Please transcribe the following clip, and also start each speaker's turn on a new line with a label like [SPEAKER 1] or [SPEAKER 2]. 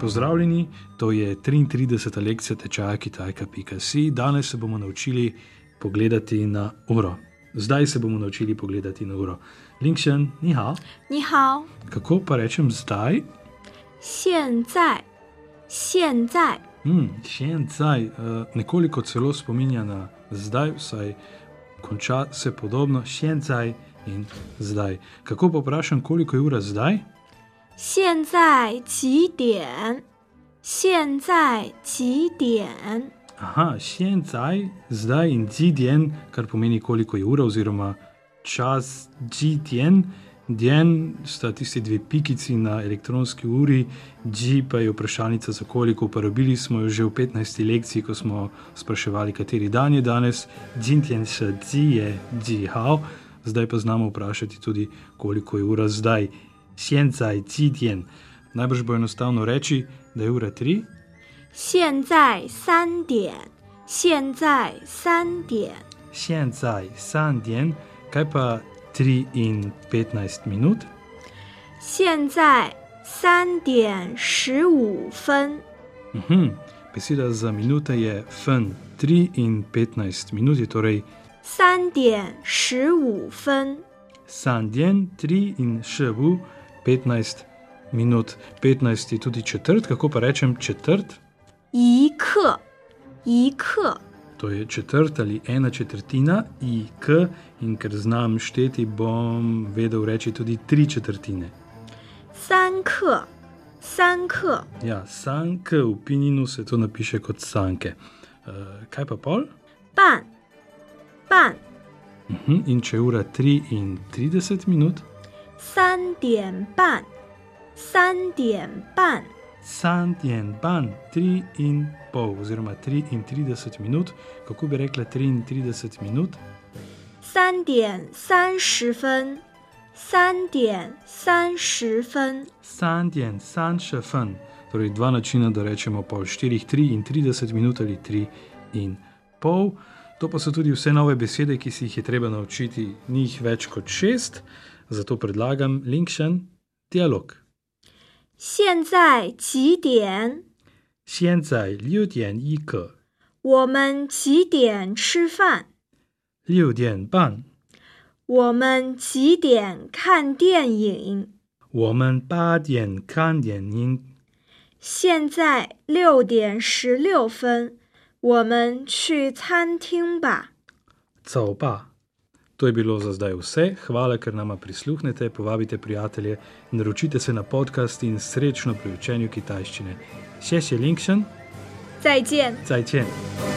[SPEAKER 1] Pozdravljeni, to je 33. lekcija tečaja kitajka.si. Danes se bomo naučili pogledati na uro. Zdaj se bomo naučili pogledati na uro. Linkshen, ni hao,
[SPEAKER 2] 你好，
[SPEAKER 1] kako pa rečem zdaj?
[SPEAKER 2] 现在，现在，
[SPEAKER 1] Hmm, še en zdaj, uh, nekoliko celo spominja na zdaj, vsaj konča se podobno, še en zdaj in zdaj. Kako pa vprašam, koliko je ura zdaj?
[SPEAKER 2] 现在几点？现在几点？
[SPEAKER 1] Aha, še en zdaj, zdaj in zidjen, kar pomeni koliko je ura, oziroma čas zidjen. Dien sta tisti dve pikici na elektronski uri, G pa je vprašalnica za koliko uporabili. Smo jo že v 15. lekciji, ko smo spraševali, kateri dan je danes. Džintjen še dzi je džihao, zdaj pa znamo vprašati tudi, koliko je ura zdaj. Sjencaj, citjen. Najbrž bo enostavno reči, da je ura 3,
[SPEAKER 2] 现在三点，现在三点，
[SPEAKER 1] 现在三点，kaj pa 3 in 15 minut?
[SPEAKER 2] 现在三点十五分，
[SPEAKER 1] Mhm. Beseda za minute je fen. 3 in 15 minut je torej
[SPEAKER 2] 三点十五分，
[SPEAKER 1] sandjen, 3 in ševu 15 minut. 15 je tudi četrt, kako pa rečem četrt?
[SPEAKER 2] 一刻，一刻，
[SPEAKER 1] To je četrt ali ena četrtina, ik, in ker znam šteti, bom vedel reči tudi tri četrtine.
[SPEAKER 2] 三刻，三刻，
[SPEAKER 1] Ja, sanke v Pininu se to napiše kot sanke. Uh, kaj pa pol?
[SPEAKER 2] 半，半。
[SPEAKER 1] Hm, In če je ura 3 in 30 minut,
[SPEAKER 2] 三点半，三点半，
[SPEAKER 1] san jen ban, 3 in pol, oziroma 3 in 30 minut, kako bi rekla 33 minut,
[SPEAKER 2] 三点三十分，三点三十分，
[SPEAKER 1] san jen san še fen. Torej, dva načina, da rečemo pol 4, 3 in 30 minut ali 3 in pol. To pa so tudi vse nove besede, ki si jih je treba naučiti, ni jih več kot šest, zato predlagam Linkšen dialog.
[SPEAKER 2] 现在几点？
[SPEAKER 1] 现在六点一刻，
[SPEAKER 2] 我们几点吃饭？
[SPEAKER 1] 六点半，
[SPEAKER 2] 我们几点看电影？
[SPEAKER 1] 我们八点看电影。
[SPEAKER 2] 现在六点十六分，我们去餐厅吧。
[SPEAKER 1] 走吧。To je bilo za zdaj vse. Hvala, ker nama prisluhnete, povabite prijatelje, naročite se na podcast in srečno pri učenju kitajščine. Še še Linkšen,
[SPEAKER 2] 再见。
[SPEAKER 1] zajčen.